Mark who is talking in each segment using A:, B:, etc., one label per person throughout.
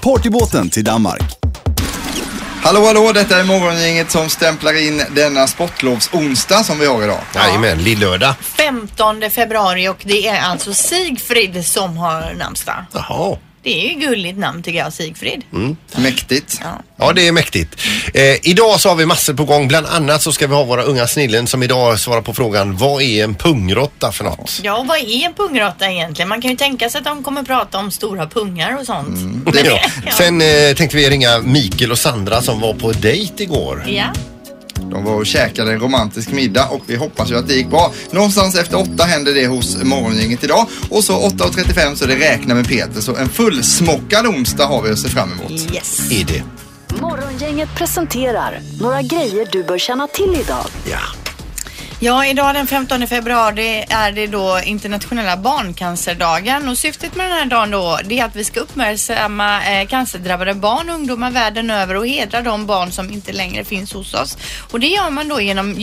A: partybåten till Danmark.
B: Hallå, hallå! Detta är morgongänget som stämplar in denna sportlovsonsdag som vi har idag.
C: Jajamän, lillördag.
D: 15 februari och det är alltså Sigfrid som har namnsdag.
C: Jaha.
D: Det är ju gulligt namn tycker jag, Sigfrid.
B: Mäktigt.
C: Ja, det är mäktigt. Eh, idag så har vi massor på gång. Bland annat så ska vi ha våra unga snillen som idag svarar på frågan vad är en pungrotta för något?
D: Ja, och vad är en pungråtta egentligen? Man kan ju tänka sig att de kommer prata om stora pungar och sånt.
C: Ja. Sen eh, tänkte vi ringa Mikael och Sandra som var på dejt igår.
D: Ja.
B: De var och käkade en romantisk middag och vi hoppas ju att det gick bra. Någonstans efter åtta händer det hos morgongänget idag. Och så 8.35 så är det räkna med Peter. Så en fullsmockad onsdag har vi att se fram emot.
D: Yes.
C: Är det?
E: Morgongänget presenterar några grejer du bör känna till idag.
C: Ja.
D: Ja, idag den 15 februari är det då internationella barncancerdagen och syftet med den här dagen då det är att vi ska uppmärksamma eh, cancerdrabbade barn och ungdomar världen över och hedra de barn som inte längre finns hos oss. Och det gör man då genom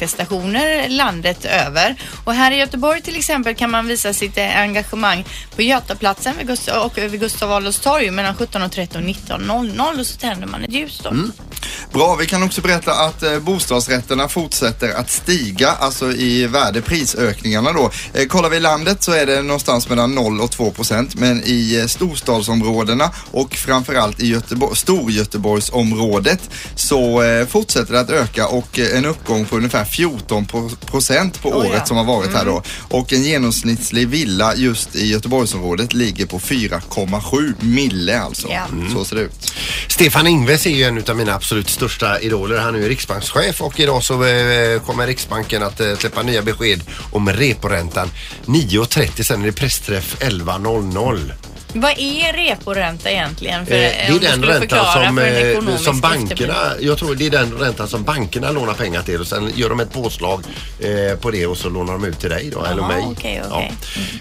D: ljusmanifestationer landet över. Och här i Göteborg till exempel kan man visa sitt eh, engagemang på Götaplatsen vid Gust- och vid Gustav Adolfs torg mellan 17.30 och 19.00 och så tänder man ett ljus då.
B: Bra, vi kan också berätta att eh, bostadsrätterna fortsätter att stiga, alltså i värdeprisökningarna då. Eh, kollar vi landet så är det någonstans mellan 0 och 2 procent, men i eh, storstadsområdena och framförallt i Göteborg, Storgöteborgsområdet så eh, fortsätter det att öka och eh, en uppgång på ungefär 14 pro- procent på året
D: ja. Mm.
B: som har varit här då. Och en genomsnittlig villa just i Göteborgsområdet ligger på 4,7 mille alltså.
D: Ja.
B: Så ser det ut.
C: Stefan Ingves är ju en av mina absolut största idoler. Han är ju riksbankschef och idag så eh, kommer Riksbanken att eh, släppa nya besked om reporäntan. 9.30 sen är det pressträff 11.00.
D: Vad är reporänta egentligen? För,
C: Eh,
D: eh, om du skulle förklara för en
C: eh,
D: ekonomisk
C: som bankerna,
D: efterbliven.
C: jag tror det är den räntan som bankerna lånar pengar till och sen gör de ett påslag eh, på det och så lånar de ut till dig då, eller mig.
D: okej, okej.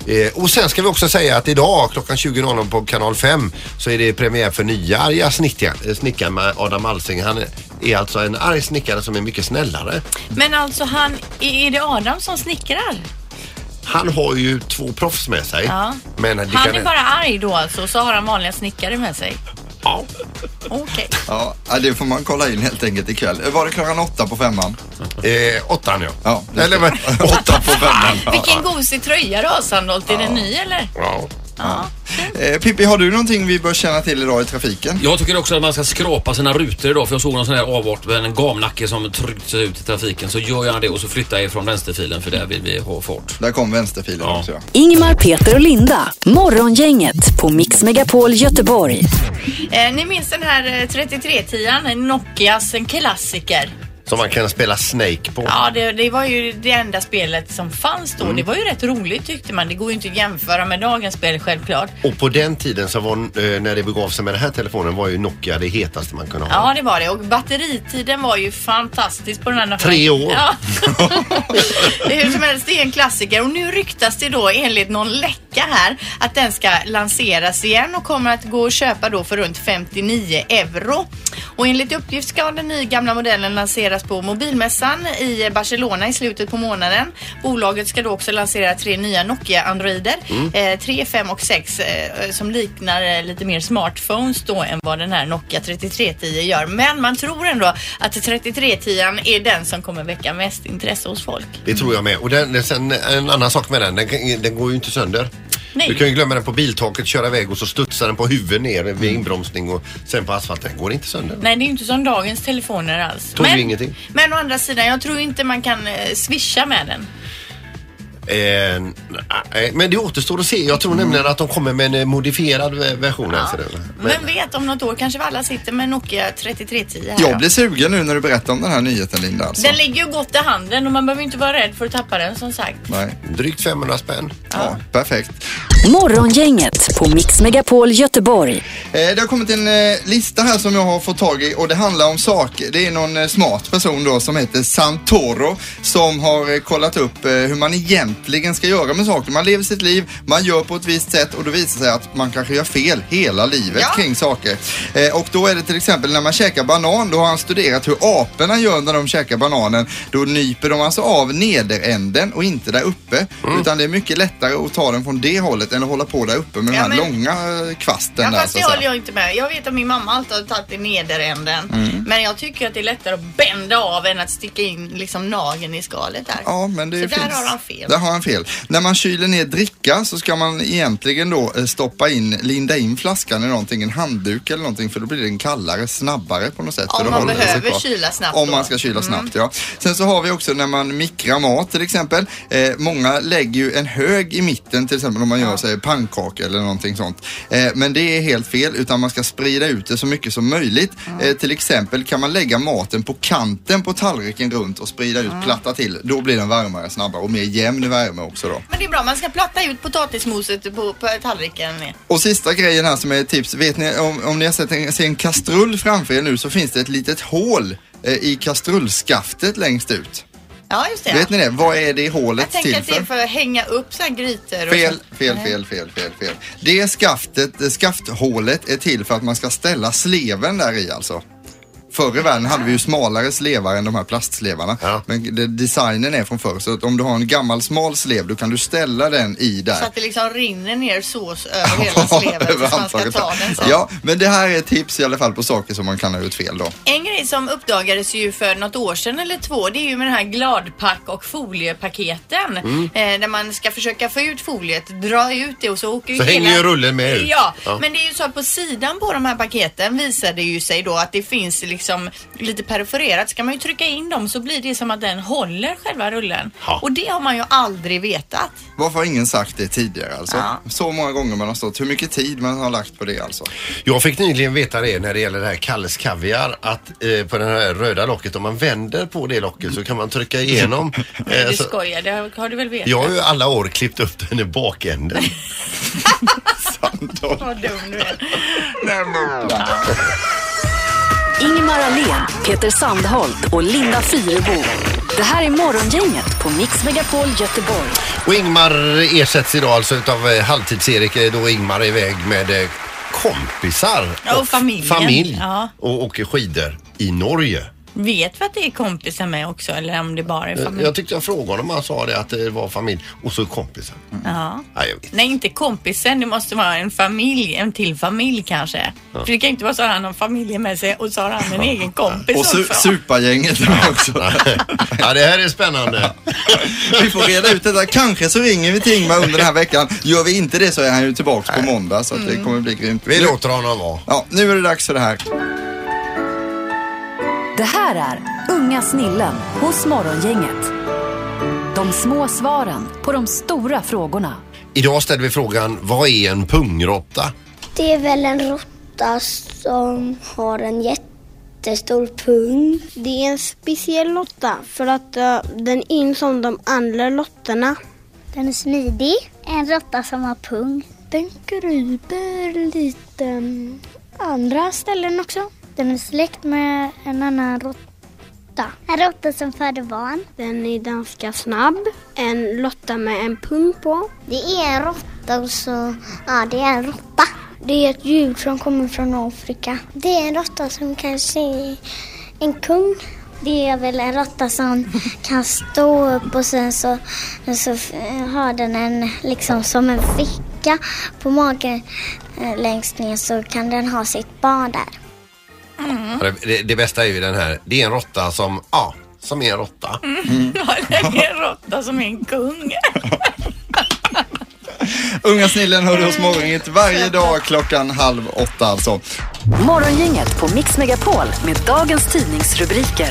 C: Ja. Eh, och sen ska vi också säga att idag klockan 20.00 på kanal 5 så är det premiär för nya arga snickar- eh, snickaren med Adam Alsing. Han är alltså en arg snickare som är mycket snällare.
D: Men alltså han, är är det Adam som snickrar?
C: Han har ju två proffs med sig.
D: Ja.
C: Men det
D: Han
C: kan-
D: är bara arg då alltså och så har han vanliga snickare med sig.
C: Ja.
D: Okej.
B: Ja, ja, det får man kolla in helt enkelt ikväll. Var det klockan åtta på femman?
C: Eh, åttan ja.
B: Ja, just det.
C: Eller men, åtta på femman.
D: Vilken gosig tröja du har Sandholt. Är den ny eller?
C: Ja.
D: Ja.
B: Eh, Pippi, har du någonting vi bör känna till idag i trafiken?
F: Jag tycker också att man ska skrapa sina rutor idag för jag såg någon sån här avart med en gamnacke som tryckte sig ut i trafiken. Så gör gärna det och så flytta er från vänsterfilen för där vill vi ha fart.
B: Där kom vänsterfilen
F: Ja.
B: också. Ja.
E: Ingmar, Peter och Linda. Morgongänget på Mix Megapol Göteborg.
D: Eh, ni minns den här eh, 3310an, Nokias en klassiker.
C: Som man kan spela Snake på.
D: Ja, det, det var ju det enda spelet som fanns då.
C: Mm.
D: Det var ju rätt roligt tyckte man. Det går ju inte att jämföra med dagens spel självklart.
C: Och på den tiden så var, eh, när det begav sig med den här telefonen var ju Nokia det hetaste man kunde ha.
D: Ja, det var det. Och batteritiden var ju fantastisk på den här.
C: Tre år.
D: Ja. det är hur som helst, det är en klassiker. Och nu ryktas det då enligt någon läcka här att den ska lanseras igen och kommer att gå att köpa då för runt 59 euro. Och enligt uppgift ska den nya gamla modellen lanseras på mobilmässan i Barcelona i slutet på månaden. Bolaget ska då också lansera tre nya Nokia-androider.
B: Mm.
D: Eh, 3, 5 och 6 eh, som liknar eh, lite mer smartphones då än vad den här Nokia 3310 gör. Men man tror ändå att 3310 är den som kommer väcka mest intresse hos folk.
C: Det tror jag med. Och den, den- sen, en annan sak med den, den, kan- den går ju inte sönder.
D: Nej.
C: Du kan ju glömma den på biltaket, köra iväg och så studsar den på huvudet ner vid
D: Mm.
C: inbromsning och sen på asfalten. Den går inte sönder.
D: Nej, det är ju inte som dagens telefoner alls.
C: Tog ju ingenting.
B: Mm.
D: men å andra sidan, jag tror inte man kan eh, swisha med den.
C: Eh, nej, men det återstår att se. Jag tror nämligen att de kommer med en eh, modifierad ve- version. här för det. Men,
D: Vem vet, om något år kanske vi alla sitter med Nokia 3310 här. då.
B: Jag blir sugen nu när du berättar om den här nyheten Linda. Alltså.
D: Den ligger ju gott i handen och man behöver inte vara rädd för att tappa den som sagt.
B: Nej.
C: Drygt 500 spänn.
B: Ja, perfekt.
E: Morgongänget på Mix Megapol Göteborg.
B: Eh, Det har kommit en eh, lista här som jag har fått tag i och det handlar om saker. Det är någon eh, smart person då som heter Santoro som har eh, kollat upp eh, hur man egentligen ska göra med saker. Man lever sitt liv, man gör på ett visst sätt och då visar det sig att man kanske gör fel hela livet
D: Ja.
B: kring saker. Eh, Och då är det till exempel när man käkar banan, då har han studerat hur aporna gör när de käkar bananen. Då nyper de alltså av nederänden och inte där uppe.
D: Mm.
B: Utan det är mycket lättare att ta den från det hållet än att hålla på där uppe med
D: Ja,
B: den här
D: men-
B: långa eh, kvasten
D: Ja,
B: där.
D: fast
B: så
D: det
B: att säga.
D: håller jag inte med. Jag vet att min mamma alltid har tagit i nederänden.
B: Mm.
D: Men jag tycker att det är lättare att bända av än att sticka in liksom nageln i skalet där.
B: Ja, men det
D: Så
B: finns.
D: där har han fel.
B: Där har han fel. När man kyler ner dricka så ska man egentligen då eh, stoppa in, linda in flaskan i någonting, en handduk eller någonting för då blir den kallare, snabbare på något sätt.
D: Om
B: för då
D: man
B: håller den
D: behöver
B: sig kvar.
D: kyla snabbt
B: Om
D: då. Mm.
B: man ska kyla snabbt, ja. Sen så har vi också när man mikrar mat till exempel. Eh, många lägger ju en hög i mitten till exempel om man gör sig pannkakor eller någonting sånt. Eh, men det är helt fel utan man ska sprida ut det så mycket som möjligt. Eh, till exempel kan man lägga maten på kanten på tallriken runt och sprida ut, platta till. Då blir den varmare snabbare och mer jämn värme också då.
D: Men det är bra, man ska platta ut potatismoset på, på tallriken.
B: Och sista grejen här som är ett tips. Vet ni om, om ni har sett en, ser en kastrull framför er nu så finns det ett litet hål eh, i kastrullskaftet längst ut.
D: Ja, just det.
B: Vet ni det? Vad är det
D: jag
B: hålet
D: tänker
B: till
D: att det är
B: för?
D: för att hänga upp så här grytor. och
B: Fel,
D: så.
B: fel,
D: Nej.
B: fel, fel, fel, fel. Det skaftet, eh, skafthålet är till för att man ska ställa sleven där i alltså. Förr i världen hade vi ju smalare slevar än de här plastslevarna.
C: Ja.
B: Men det, designen är från förr så att om du har en gammal smal slev då kan du ställa den i där.
D: Så att det liksom rinner ner sås över hela sleven tills man ska
B: Över
D: ta
B: handtaget.
D: den sen.
B: Ja, men det här är tips i alla fall på saker som man kan ha ut fel då.
D: En grej som uppdagades ju för något år sedan eller två det är ju med den här gladpack och foliepaketen.
C: Mm.
D: Eh, där man ska försöka få ut foliet, dra ut det och så åker
C: Så
D: ju
C: hänger ju rullen med ut.
D: Ja,
C: Ja.
D: men det är ju så att på sidan på de här paketen visar det ju sig då att det finns liksom lite perforerat. Ska man ju trycka in dem så blir det som att den håller själva rullen.
C: Ja. Eh,
D: Och det har man ju aldrig vetat.
B: Varför har ingen sagt det tidigare alltså?
D: Ja.
B: Så många gånger man har stått, hur mycket tid man har lagt på det alltså.
C: Jag fick nyligen veta det när det gäller det här Kalles Kaviar att eh, på det här röda locket om man vänder på det locket så kan man trycka igenom. Eh,
D: Du
C: så,
D: skojar, det har, har du väl vetat?
C: jag har ju alla år klippt upp den i bakänden.
D: Vad dum du är.
E: Ingemar Ahlén, Peter Sandholt och Linda Fyrebo. Det här är Morgongänget på Mix Megapol Göteborg.
C: Och Ingmar ersätts idag alltså utav eh, halvtids-Erik eh, då Ingmar är iväg med eh, kompisar
D: Ja, och familjen.
C: familj
D: Ja.
C: och åker skidor i Norge.
D: Vet vi att det är kompisar med också eller om det bara är
C: Eh,
D: familj?
C: Jag tyckte jag frågade honom han sa det att det var familj och så kompisar.
D: Ja.
C: Nej, jag vet.
D: Nej, inte kompisen. Det måste vara en familj, en till familj kanske. För det kan ju inte vara så att han har familjen med sig och så har han en egen kompis
B: Och su-
D: också.
B: supergänget med också.
C: ja, det här är spännande.
B: Vi får reda ut detta. Kanske så ringer vi till Ingmar under den här veckan. Gör vi inte det så är han ju tillbaks på måndag så
D: Mm.
B: att det kommer bli grymt.
C: Vi
B: Nu-
C: låter honom vara.
B: Ja, nu är det dags för det här.
E: Det här är Unga snillen hos Morgongänget. De små svaren på de stora frågorna.
C: Idag ställer vi frågan, vad är en pungrotta?
G: Det är väl en råtta som har en jättestor pung. Det är en speciell lotta för att eh, den är inte som de andra lotterna. Den är smidig. En råtta som har pung. Den kryper lite mm, andra ställen också. Den är släkt med en annan råtta. En råtta som föder barn. Den är ganska snabb. En lotta med en pung på. Det är en råtta och så... Ja, det är en råtta. Det är ett djur som kommer från Afrika. Det är en råtta som kanske är en kung. Det är väl en råtta som kan stå upp och sen så, så f- har den en liksom som en ficka på magen eh, längst ner så kan den ha sitt barn där.
B: Mm.
C: Det- Det, det bästa är ju den här, det är en råtta som, ja, som är en råtta.
B: Mm.
D: Ja, det är en råtta som är en kung.
B: Unga snillen hör du hos Morgongänget varje dag klockan halv åtta alltså.
E: Morgongänget på Mix Megapol med dagens tidningsrubriker.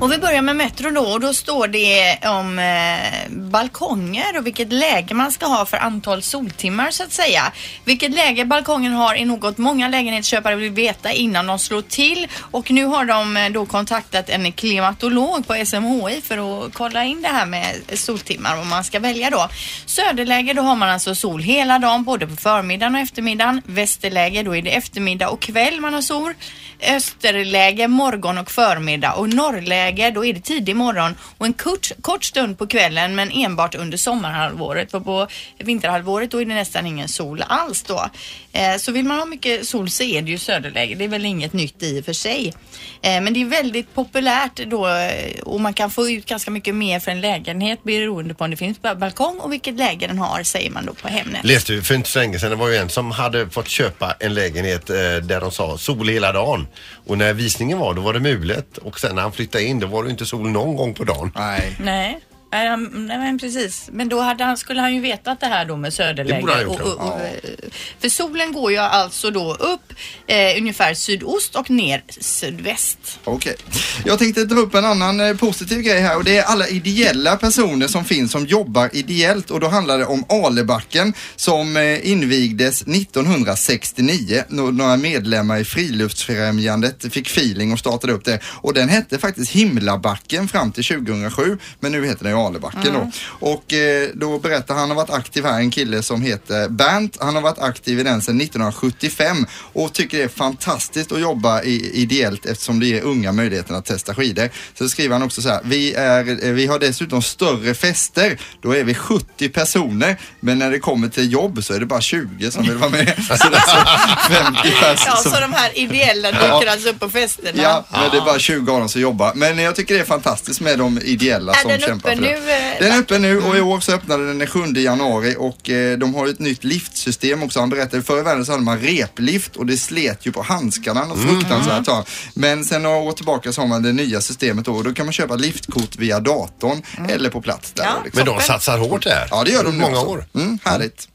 D: Och vi börjar med Metro då och då står det om eh, balkonger och vilket läge man ska ha för antal soltimmar så att säga. Vilket läge balkongen har är något många lägenhetsköpare vill veta innan de slår till och nu har de eh, då kontaktat en klimatolog på SMHI för att kolla in det här med soltimmar och vad man ska välja då. Söderläge då har man alltså sol hela dagen både på förmiddagen och eftermiddagen. Västerläge då är det eftermiddag och kväll man har sol. Österläge morgon och förmiddag och norrläge då är det tidig morgon och en kort, kort stund på kvällen men enbart under sommarhalvåret. För på vinterhalvåret då är det nästan ingen sol alls då. Eh, så vill man ha mycket sol så är det ju söderläge. Det är väl inget nytt i och för sig. Eh, men det är väldigt populärt då eh, och man kan få ut ganska mycket mer för en lägenhet beroende på om det finns ba- balkong och vilket läge den har säger man då på Hemnet.
C: Läste vi för inte så länge sedan, det var ju en som hade fått köpa en lägenhet eh, där de sa sol hela dagen. Och när visningen var då var det mulet och sen när han flyttade in då var det inte sol någon gång på dagen.
B: Nej.
D: Nej. Nej, han- nej men precis. Men då hade han, skulle han ju vetat det här då med
C: Det
D: söderläge.
C: borde han
D: och,
C: gjort,
D: och, och, eh, för solen går ju alltså då upp eh, ungefär sydost och ner sydväst.
B: Okej. Jag tänkte dra upp en annan eh, positiv grej här och det är alla ideella personer som finns som jobbar ideellt och då handlar det om Alebacken som eh, invigdes 1969. Nå- Några medlemmar i Friluftsfrämjandet fick feeling och startade upp det och den hette faktiskt Himlabacken fram till 2007 men nu heter den ju Alebacken då. Och eh, då berättar han har varit aktiv här, en kille som heter Bernt. Han har varit aktiv i den sedan 1975 och tycker det är fantastiskt att jobba i, ideellt eftersom det ger unga möjligheten att testa skidor. Så skriver han också så här, vi, är, eh, vi har dessutom större fester, då är vi 70 personer, men när det kommer till jobb så är det bara 20 som vill vara med. Så det är alltså 50
D: Ja,
B: personer
D: så
B: som
D: de här ideella dyker alltså upp på festerna.
B: Ja, men det är bara 20 av dem som jobbar. Men jag tycker det är fantastiskt med de ideella
D: Är
B: som
D: den
B: kämpar
D: uppe
B: för det.
D: nu, eh,
B: Den är uppe nu och i år så öppnade den den 7 januari och eh, de har ju ett nytt liftsystem också. Han berättade förr i världen så hade man replift och det slet ju på handskarna och
C: Mm.
B: fruktansvärt tag. Men sen några år tillbaka så har man det nya systemet då och då kan man köpa liftkort via datorn eller på plats där.
D: Mm. Ja.
B: Liksom.
C: Men de satsar hårt där.
B: Ja, det gör de nu
C: Många
B: också.
C: år.
B: Mm, härligt.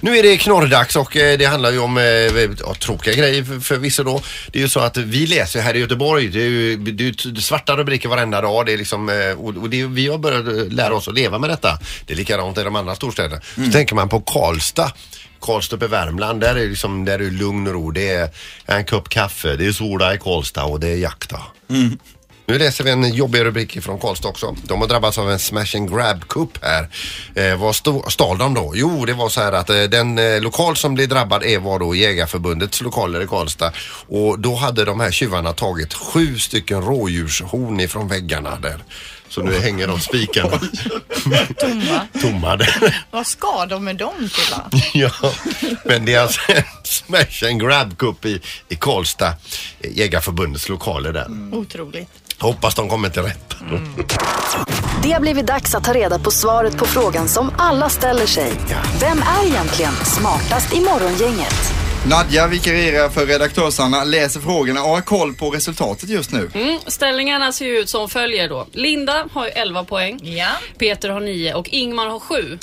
C: Nu är det knorrdags och eh, det handlar ju om eh, ja, tråkiga grejer för- förvisso då. Det är ju så att vi läser här i Göteborg, det är ju det är ju t- svarta rubriker varenda dag. Det är liksom, eh, och och det, är- vi har börjat eh, lära oss att leva med detta. Det är likadant i de andra storstäderna. Så tänker man på Karlstad. Karlstad uppe i Värmland, där är det liksom, där är det lugn och ro. Det är en kopp kaffe, det är sola i Karlstad och det är jakta. Nu läser vi en jobbig rubrik från Karlstad också. De har drabbats av en smash and grab cup här. Eh, vad stod, stal de då? Jo, det var så här att eh, den eh, lokal som blev drabbad är var då Jägarförbundets lokaler i Karlstad. Och då hade de här tjuvarna tagit sju stycken rådjurshorn ifrån väggarna där. Så nu hänger de spikarna.
D: Tomma.
C: Tomma där.
D: Vad ska de med dem till va?
C: Ja, men det är alltså en smash and grab cup i, i Karlstad. eh, Jägarförbundets lokaler där.
D: Mm. Otroligt.
C: Hoppas de kommer till rätta.
E: Det har blivit dags att ta reda på svaret på frågan som alla ställer sig. Vem är egentligen smartast i morgongänget?
B: Nadja vikarierar för redaktörsarna, läser frågorna och har koll på resultatet just nu.
H: Mm, ställningarna ser ju ut som följer då. Linda har ju 11 poäng.
D: Ja.
H: Peter har 9 och Ingmar har 7.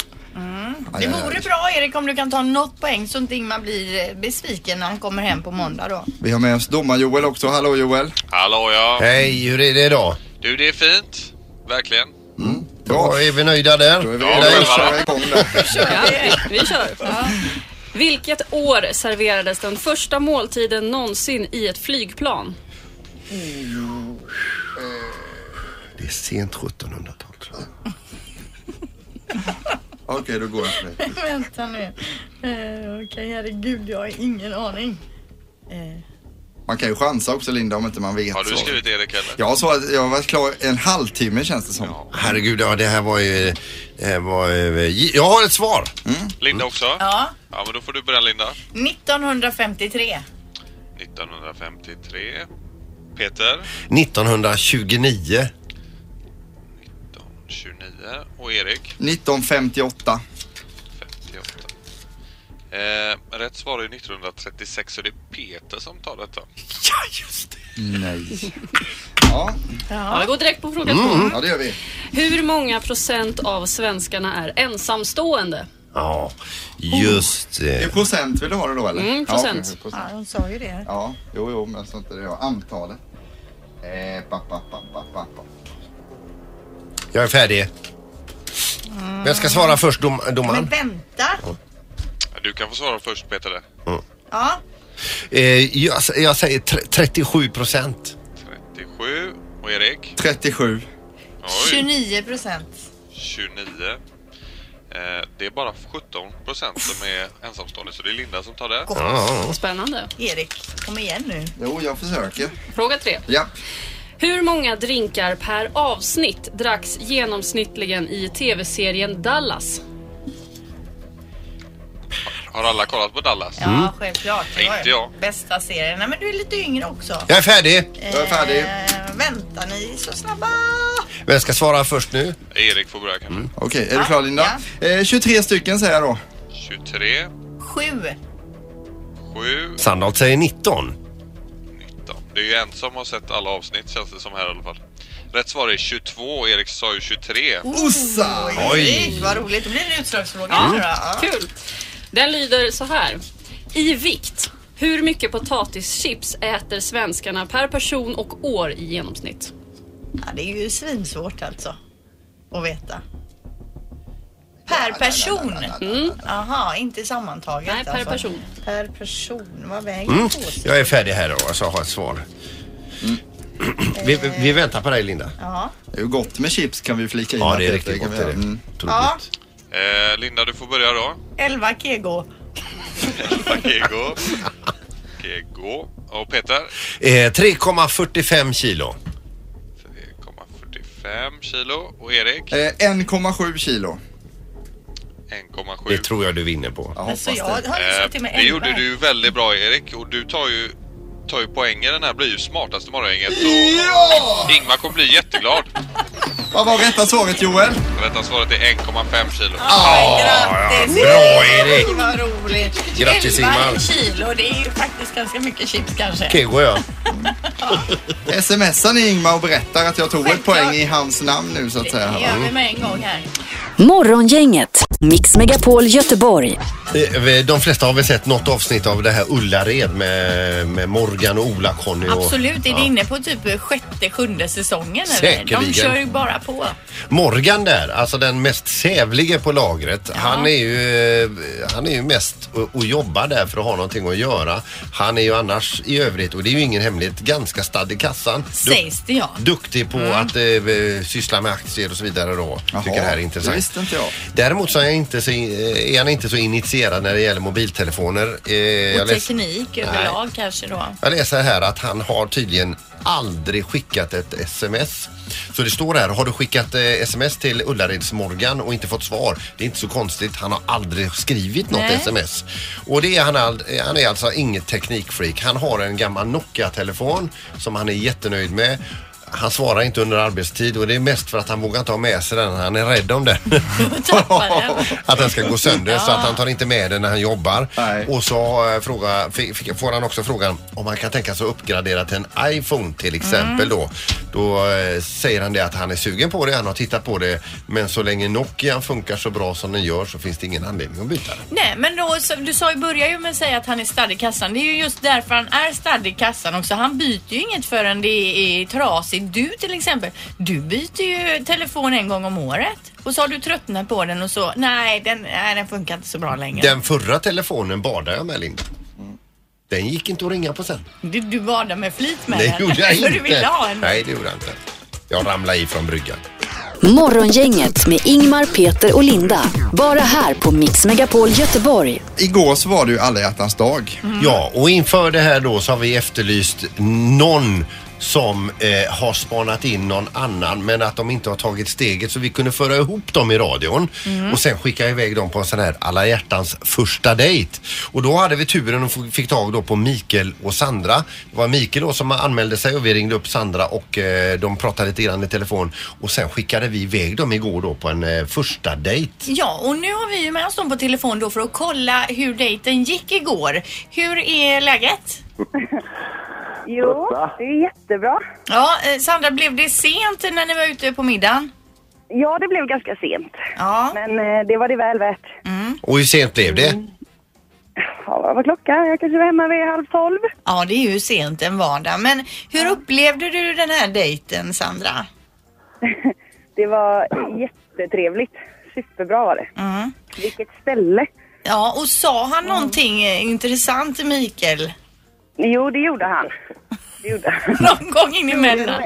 D: Det vore bra Erik om du kan ta något poäng så inte Ingmar blir eh, besviken när han kommer hem på måndag då.
B: Vi har med oss domar-Joel också. Hallå Joel!
I: Hallå ja.
C: Hej, hur är det idag?
I: Du, det är fint. Verkligen.
C: Bra, är vi nöjda där?
B: Då är vi
I: Ja,
B: redo
I: men
B: att köra
I: va?
B: igång där.
H: Ja, vi kör. Ja. Vilket år serverades den första måltiden någonsin i ett flygplan?
C: Det är sent 1700-tal tror jag.
B: Okej, då går jag för det.
D: Vänta nu. Eh, Okej, herregud jag har ingen aning.
B: Man kan ju chansa också Linda om inte man vet.
I: Har du
B: svaret.
I: skrivit Erik eller?
B: Jag har svarat, jag har varit klar en halvtimme känns det som.
C: Herregud, ja, det här var ju... eh, Var, ju- jag har ett svar.
I: Linda också?
D: Ja.
I: Ja, men då får du börja Linda.
D: 1953.
I: 1953. Peter.
C: 1929.
I: 29. Och Erik.
B: 1958.
I: 58. Eh, rätt svar är 1936 så det är Peter som tar detta.
B: Nej. Ja,
H: Ja, vi går direkt på fråga två.
B: ja det gör vi.
H: Hur många procent av svenskarna är ensamstående?
C: Ja, just
B: I
C: det.
B: procent vill du ha det då eller?
H: Mm, procent.
B: Ja, okej, procent.
D: Ja, de sa ju det.
B: ja jo, jo, men så inte det. är jag. Antalet. Eh, pa, pa, pa, pa, pa, pa.
C: Jag är färdig. Men jag ska svara först dom, domaren.
D: Men vänta.
I: Du kan få svara först Peter. där.
D: Ja.
C: Eh, jag, jag säger tre- 37 procent.
I: 37 och Erik?
C: 37.
I: Oj,
D: 29 procent.
I: 29. Eh, det är bara 17 procent som är ensamstående så det är Linda som tar det.
H: Spännande.
D: Erik, kom igen nu.
B: Jo, jag försöker.
H: Fråga tre.
B: Ja.
H: Hur många drinkar per avsnitt dracks genomsnittligen i tv-serien Dallas?
I: Har alla kollat på Dallas?
D: Ja, självklart. Det var
I: Inte jag.
D: Bästa serien. Nej, men du är lite yngre också.
C: Jag är färdig. Jag är färdig.
D: Eh, vänta, ni är så snabba.
C: Vem ska svara först nu?
I: Erik får börja kanske.
B: Okej, är du klar Linda? Eh, 23 stycken säger jag då.
I: 23,
D: Sju.
I: 7.
C: Sandholt säger 19.
I: Det är ju en som har sett alla avsnitt känns det som här i alla fall. Rätt svar är 22 och Erik sa ju 23.
B: Ossa!
I: Oj.
D: Erik, vad roligt. Det blir en utslagsfråga.
H: Ja,
D: tror jag. Ja.
H: Kul. Den lyder så här. I vikt, hur mycket potatischips äter svenskarna per person och år i genomsnitt?
D: Ja, det är ju svinsvårt alltså. Att veta. Per person? Jaha, inte sammantaget
H: Nej, per
D: alltså.
H: person.
D: Per person, vad väger
C: Mm.
D: påsen?
C: Jag är färdig här då, så jag har ett svar. Vi, vi- vi väntar på dig Linda.
D: Ja.
B: Det är ju gott med chips kan vi flika in.
C: Ja,
B: att
C: det är riktigt
B: kan
C: gott, det
B: vi
C: är
B: göra. Mm.
D: ja,
I: Eh, Linda du får börja då.
D: 11 kg.
I: Kego. Kego. Och Peter?
C: Eh, 3,45 kilo.
I: 5 kilo. Och Erik?
B: Eh, 1,7 kilo.
I: 1,7.
C: Det tror jag du vinner på.
B: Jag
D: hoppas jag det. har ju suttit med
I: Eh, Det
D: elva
I: gjorde
D: här.
I: du väldigt bra Erik och du tar ju, tar ju poänger den här blir ju smartaste morgongänget. Så
B: Ja!
I: Ingmar kommer bli jätteglad.
B: Vad var rätta svaret Joel?
I: Rätta svaret är 1,5 kilo.
D: Grattis!
C: Bra, Erik.
D: Vad roligt!
C: Grattis, Ingmar.
D: 11 kilo, det är ju faktiskt ganska mycket chips kanske.
C: Kego ja.
B: Smsar ni Ingmar och berättar att jag tog ett poäng i hans namn nu så att säga?
D: Det gör
C: Mm.
D: vi med en gång här.
E: Morgongänget, Mix Megapol Göteborg.
C: Eh, vi- De flesta har väl sett något avsnitt av det här Ullared med, med Morgan och Ola-Conny. och-
D: Absolut, är
C: Ja.
D: det inne på typ sjätte, sjunde säsongen? Eller?
C: Säkerligen.
D: De kör ju bara på.
C: Morgan där, alltså den mest sävlige på lagret. Han, är ju, eh, han är ju mest och, och jobbar där för att ha någonting att göra. Han är ju annars i övrigt, och det är ju ingen hemlighet, ganska stadd i kassan. Du-
D: Sägs det ja.
C: Duktig på
D: Mm.
C: att eh, syssla med aktier och så vidare då. Tycker det här är intressant.
B: Det visste inte jag.
C: Däremot så är, jag inte så, eh, är han inte så initierad när det gäller mobiltelefoner. Eh, jag
D: Och
C: läs-
D: teknik överlag kanske då.
C: jag läser här att han har tydligen aldrig skickat ett sms. Så det står här, har du skickat eh, sms till Ullareds Morgan och inte fått svar? Det är inte så konstigt, han har aldrig skrivit något
D: Nej.
C: sms. Och det är han, all, eh, han är alltså inget teknikfreak. Han har en gammal Nokia-telefon som han är jättenöjd med. Han svarar inte under arbetstid och det är mest för att han vågar inte ha med sig den. Han är rädd om den. att den ska gå sönder så att han tar inte med den när han jobbar. Och så eh, fråga, fick, fick- får han också frågan om han kan tänka sig att uppgradera till en iPhone till
D: Mm.
C: exempel då. Då eh, säger han det att han är sugen på det, han har tittat på det. Men så länge Nokia funkar så bra som den gör så finns det ingen anledning att byta den.
D: Nej, men då, så, du sa ju, börjar ju med att säga att han är stadd i kassan. Det är ju just därför han är stadd i kassan också. Han byter ju inget förrän det är, är trasigt. Du till exempel, du byter ju telefon en gång om året. Och så har du tröttnat på den och så, nej den, nej, den funkar inte så bra längre.
C: Den förra telefonen badade jag med Linda. Den gick inte att ringa på sen.
D: Du, du badade med flit med
C: Det
D: den.
C: gjorde jag
D: För du ville
C: inte.
D: ha en.
C: Nej, det gjorde jag inte. Jag ramlade i från bryggan.
E: Morgongänget med Ingmar, Peter och Linda. Bara här på Mix Megapol Göteborg.
B: Igår så var det ju alla hjärtans dag.
C: Ja, och inför det här då så har vi efterlyst någon som eh, har spanat in någon annan men att de inte har tagit steget så vi kunde föra ihop dem i radion och sen skicka iväg dem på en sån här alla hjärtans första dejt. Och då hade vi turen och f- fick tag då på Mikael och Sandra. Det var Mikael då som anmälde sig och vi ringde upp Sandra och eh, de pratade lite grann i telefon och sen skickade vi iväg dem igår då på en eh, första dejt.
D: Ja, och nu har vi ju med oss dem på telefon då för att kolla hur dejten gick igår. Hur är läget?
J: Jo, det är jättebra.
D: Ja, eh, Sandra, blev det sent när ni var ute på middagen?
J: Ja, det blev ganska sent.
D: Ja.
J: Men eh, det var det väl värt.
C: Och hur sent blev det?
J: Ja, vad var klockan? Jag kanske var hemma vid halv tolv.
D: Ja, det är ju sent en vardag. Men hur upplevde du den här dejten, Sandra?
J: Det var jättetrevligt. Superbra var det. Vilket ställe.
D: Ja, och sa han någonting eh, intressant Mikael?
J: Jo, det gjorde han. Det gjorde han.
D: Någon gång in emellan.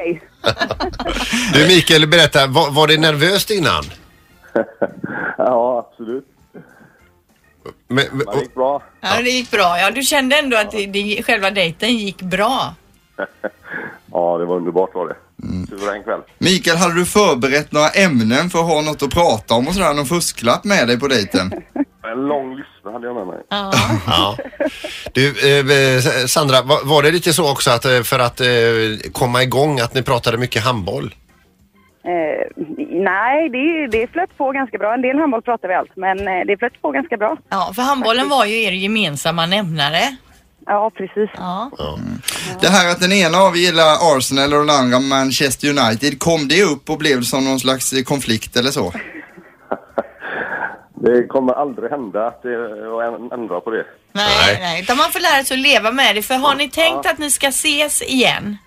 C: Du Mikael, berätta. Var, var det nervöst innan?
K: ja, absolut.
C: Men,
K: det gick bra.
D: Ja, det gick bra. Ja, du kände ändå att det, det, själva dejten gick bra.
K: Ja, det var underbart var det. Suverän kväll.
B: Mikael, hade du förberett några ämnen för att ha något att prata om och sådär? Någon fusklapp med dig på dejten?
K: En lång lista hade jag med mig.
D: Ja.
C: Ja. Du, eh, S- Sandra, var, var det lite så också att eh, för att eh, komma igång att ni pratade mycket handboll?
J: Eh, nej, det, det flöt på ganska bra. En del handboll pratar vi allt, men eh, det flöt på ganska bra.
D: Ja, för handbollen var ju er gemensamma nämnare.
J: Ja, precis.
D: Ja.
B: Det här att den ena av er gillar Arsenal och den andra Manchester United, kom det upp och blev som någon slags eh, konflikt eller så?
K: Det kommer aldrig hända att det- att ändra på det.
D: Nej, nej, utan man får lära sig att leva med det. För har ni tänkt att ni ska ses igen?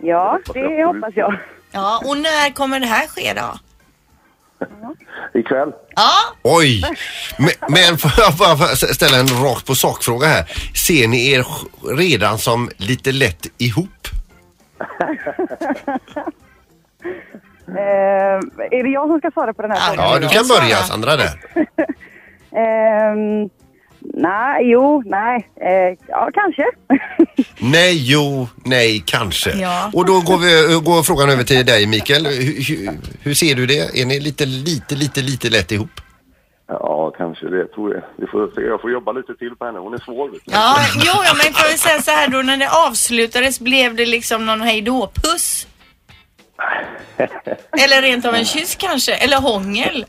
J: Ja, det hoppas jag.
D: Ja, och när kommer det här ske då?
K: Ikväll.
D: Ja,
C: Oj! Men, men får jag bara ställa en rakt på sakfråga här. Ser ni er redan som lite lätt ihop?
J: Eh, är det jag som ska svara på den här frågan?
C: Ja, du kan börja Sandra där.
J: Ehm, nej, jo, nej. Eh, ja, kanske.
C: Nej, jo, nej, kanske.
J: Ja.
C: Och då går, vi, går frågan över till dig Mikael. Hur, hur, hur ser du det? Är ni lite, lite, lite, lite lätt ihop?
K: Ja, kanske det tror jag. Vi får, se. jag får jobba lite till på henne. Hon är svår. Vet du.
D: ja jo, ja, men får vi säga så här då, när det avslutades blev det liksom någon hejdå-puss? Eller rent av en kyss kanske? Eller hångel?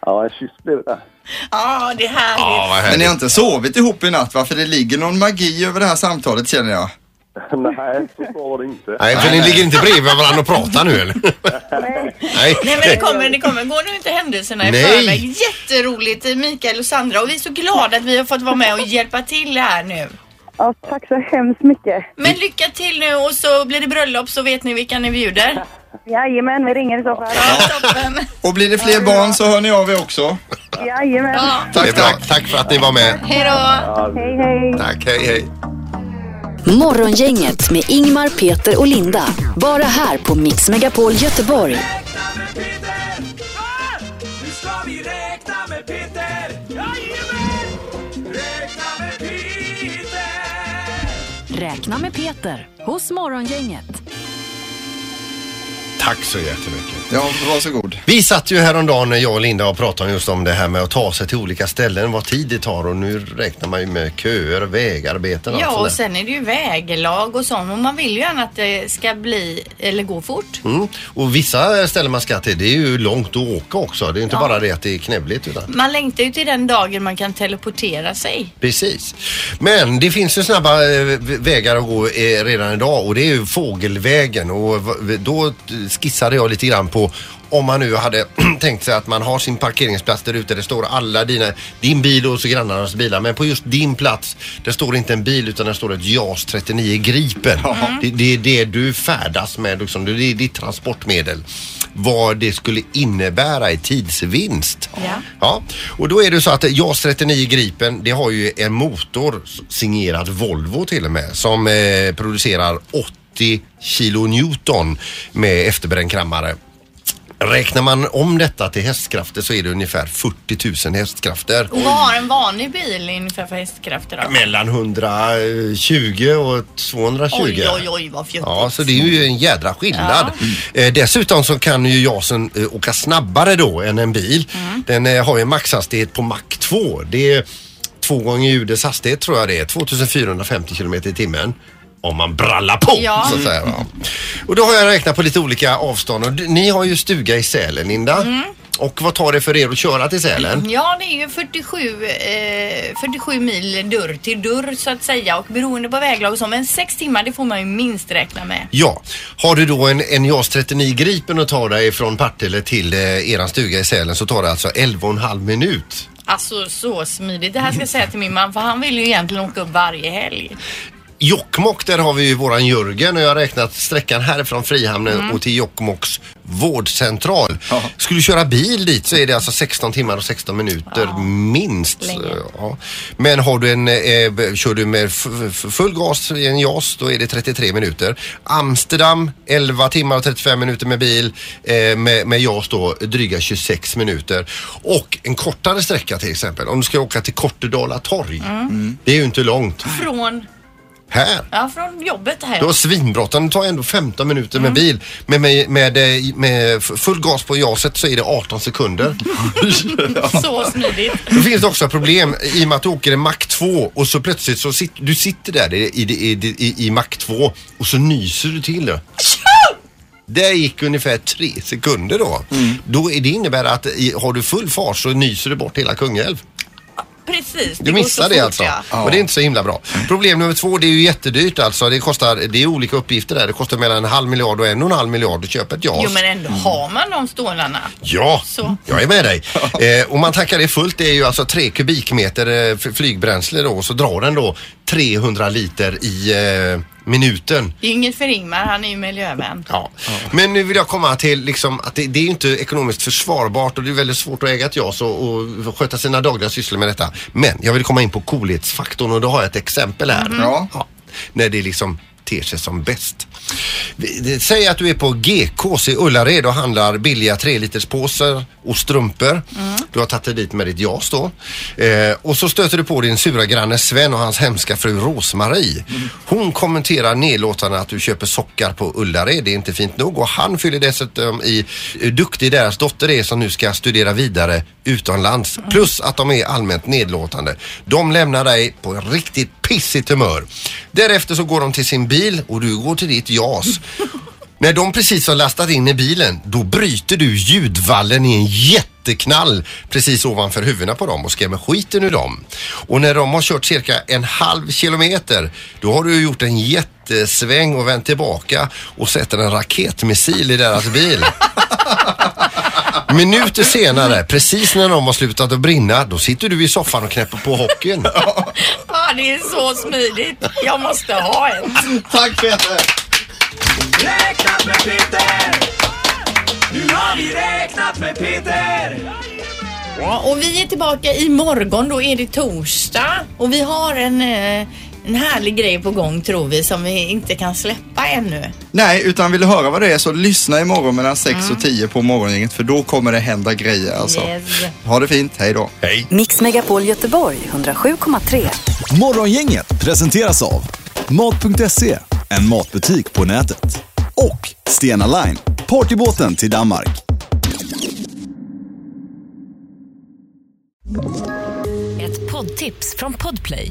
K: Ja, en kyss blev det.
D: Ja, det är härligt.
B: Men ni har inte sovit ihop i natt va? För det ligger någon magi över det här samtalet känner jag.
K: Nej, så bra var det inte.
C: Nej, för ni ligger inte bredvid varandra och pratar nu eller? Nej.
D: Nej men det kommer, det kommer. Gå nu inte händelserna i
C: Nej.
D: förväg. Jätteroligt eh, Mikael och Sandra och vi är så glada att vi har fått vara med och hjälpa till här nu.
J: Ja, tack så hemskt mycket.
D: Men lycka till nu och så blir det bröllop så vet ni vilka ni bjuder.
J: Jajamän, vi ringer i så fall.
B: Och blir det fler barn så hör ni av er också.
J: Jajamän.
C: Tack, tack. Tack för att ni var med.
D: Hej då.
J: Hej, hej.
C: Tack, hej, hej.
E: Morgongänget med Ingmar, Peter och Linda. Bara här på Mix Megapol Göteborg.
L: Nu ska vi räkna med Peter! Jajamän! Räkna med Peter!
E: Räkna med Peter hos Morgongänget.
C: Tack så jättemycket.
B: Ja, varsågod.
C: Vi satt ju häromdagen när jag och Linda och pratade just om det här med att ta sig till olika ställen, vad tid det tar och nu räknar man ju med köer, vägarbeten och
D: Ja
C: allt
D: och
C: sånt
D: sen är det ju väglag och sånt och man vill ju gärna att det ska bli eller gå fort.
C: där. Mm. Och vissa ställen man ska till, det är ju långt att åka också. Det är ju inte
D: Ja.
C: bara det att det är knävligt utan
D: Man längtar ju till den dagen man kan teleportera sig.
C: Precis. Men det finns ju snabba eh, vägar att gå eh, redan idag och det är ju fågelvägen och v- då skissade jag lite grann på om man nu hade tänkt sig att man har sin parkeringsplats där ute. Det står alla dina, din bil och så grannarnas bilar. Men på just din plats, där står inte en bil utan där står ett JAS 39 Gripen. Det,
D: Mm.
C: det är det du färdas med, liksom. det är ditt transportmedel. Vad det skulle innebära i tidsvinst.
D: Ja.
C: Ja, och då är det så att JAS 39 Gripen, det har ju en motor signerad Volvo till och med som eh, producerar 80 kilonewton med efterbränd kammare. Räknar man om detta till hästkrafter så är det ungefär 40 000 hästkrafter.
D: Och vad har en vanlig bil ungefär för hästkrafter då?
C: Mellan 120 och 220.
D: Oj oj oj vad fjuttigt.
C: Ja, så det är ju en jädra skillnad. Eh, dessutom så kan ju jasen eh, åka snabbare då än en bil. Den eh, har ju en maxhastighet på max 2. Det är två gånger ljudets hastighet tror jag det är. 2450 kilometer i timmen. Om man brallar på
D: Ja.
C: så att säga. va. Och då har jag räknat på lite olika avstånd. Och d- ni har ju stuga i Sälen Linda. Och vad tar det för er att köra till Sälen?
D: Ja, det är ju 47, eh, 47 mil dörr till dörr så att säga och beroende på väglag och så, men sex timmar det får man ju minst räkna med.
C: Ja, har du då en, en JAS 39 Gripen att ta dig från Partille till eh, eran stuga i Sälen så tar det alltså 11,5 minut.
D: Alltså så smidigt. Det här ska jag säga till min man för han vill ju egentligen åka upp varje helg.
C: Jokkmokk, där har vi ju våran Jörgen och jag har räknat sträckan härifrån Frihamnen
M: Mm.
C: och till Jokkmokks vårdcentral. Skulle du köra bil dit så är det alltså 16 timmar och 16 minuter minst.
M: Länge.
C: Ja. Men har du en, eh, b- kör du med f- f- full gas i en JAS då är det 33 minuter. Amsterdam 11 timmar och 35 minuter med bil. Eh, med, med JAS då dryga 26 minuter. Och en kortare sträcka till exempel om du ska åka till Kortedala torg.
D: Mm.
C: Det är ju inte långt.
D: Från,
C: Här.
D: ja, från jobbet här.
C: Det var svinbråttom. Det tar ändå 15 minuter med bil. Men med, med, eh, med full gas på jaset så är det 18 sekunder.
D: Så smidigt.
C: Då finns det också problem i och med att du åker i Mac 2 och så plötsligt så sitter du sitter där i, i, i, i, i Mac 2 och så nyser du till. Det gick ungefär tre sekunder då. då är- det innebär att i, har du full fart så nyser du bort hela Kungälv.
D: Precis.
C: Du
D: går så
C: missar det
D: fort,
C: alltså.
D: ja.
C: Och det är inte så himla bra. Problem nummer två, det är ju jättedyrt alltså. Det kostar, det är olika uppgifter där. Det kostar mellan en halv miljard och en och en halv miljard att köpa ett JAS.
D: Jo men ändå
C: Mm.
D: har man de stålarna.
C: Ja,
D: Så.
C: jag är med dig. Eh, och man tankar det fullt. Det är ju alltså tre kubikmeter eh, f- flygbränsle då. Och så drar den då 300 liter i eh, minuten.
D: Det är inget för Ingmar, han är ju miljövän.
C: Ja. Men nu vill jag komma till liksom att det, det är ju inte ekonomiskt försvarbart och det är väldigt svårt att äga ett JAS och, och sköta sina dagliga sysslor med detta. Men jag vill komma in på coolhetsfaktorn och då har jag ett exempel här.
M: Mhm. Ja.
C: När det liksom ter sig som bäst. Vi- det- Säg att du är på GKs i Ullared och handlar billiga 3 liters påsar och strumpor. Du har tagit dig dit med ditt JAS då. Eh, och så stöter du på din sura granne Sven och hans hemska fru Rosmarie. Hon kommenterar nedlåtande att du köper sockar på Ullared. Det är inte fint nog. Och han fyller dessutom i hur duktig deras dotter är som nu ska studera vidare utomlands. Plus att de är allmänt nedlåtande. De lämnar dig på en riktigt pissigt humör. Därefter så går de till sin bil och du går till ditt JAS. När de precis har lastat in i bilen, då bryter du ljudvallen i en jätteknall precis ovanför huvudena på dem och skrämmer skiten ur dem. Och när de har kört cirka en halv kilometer, då har du gjort en jättesväng och vänt tillbaka och sätter en raketmissil i deras bil. Minuter senare, precis när de har slutat att brinna, då sitter du i soffan och knäpper på hockeyn.
D: Ja, det är så smidigt. Jag måste ha en.
C: Tack Peter!
M: Räknat med Peter! Nu har vi räknat med Peter!
D: Ja, och vi är tillbaka imorgon, då är det torsdag. Och vi har en, eh, en härlig grej på gång tror vi som vi inte kan släppa ännu.
B: Nej, utan vill du höra vad det är så lyssna imorgon mellan 6 och 10 på morgongänget för då kommer det hända grejer alltså. Ha det fint, hej då.
C: Hej.
E: Mix Megapol Göteborg 107,3.
A: Morgongänget presenteras av Mat.se, en matbutik på nätet. Och Stena Line, partybåten till Danmark.
N: Ett poddtips från Podplay.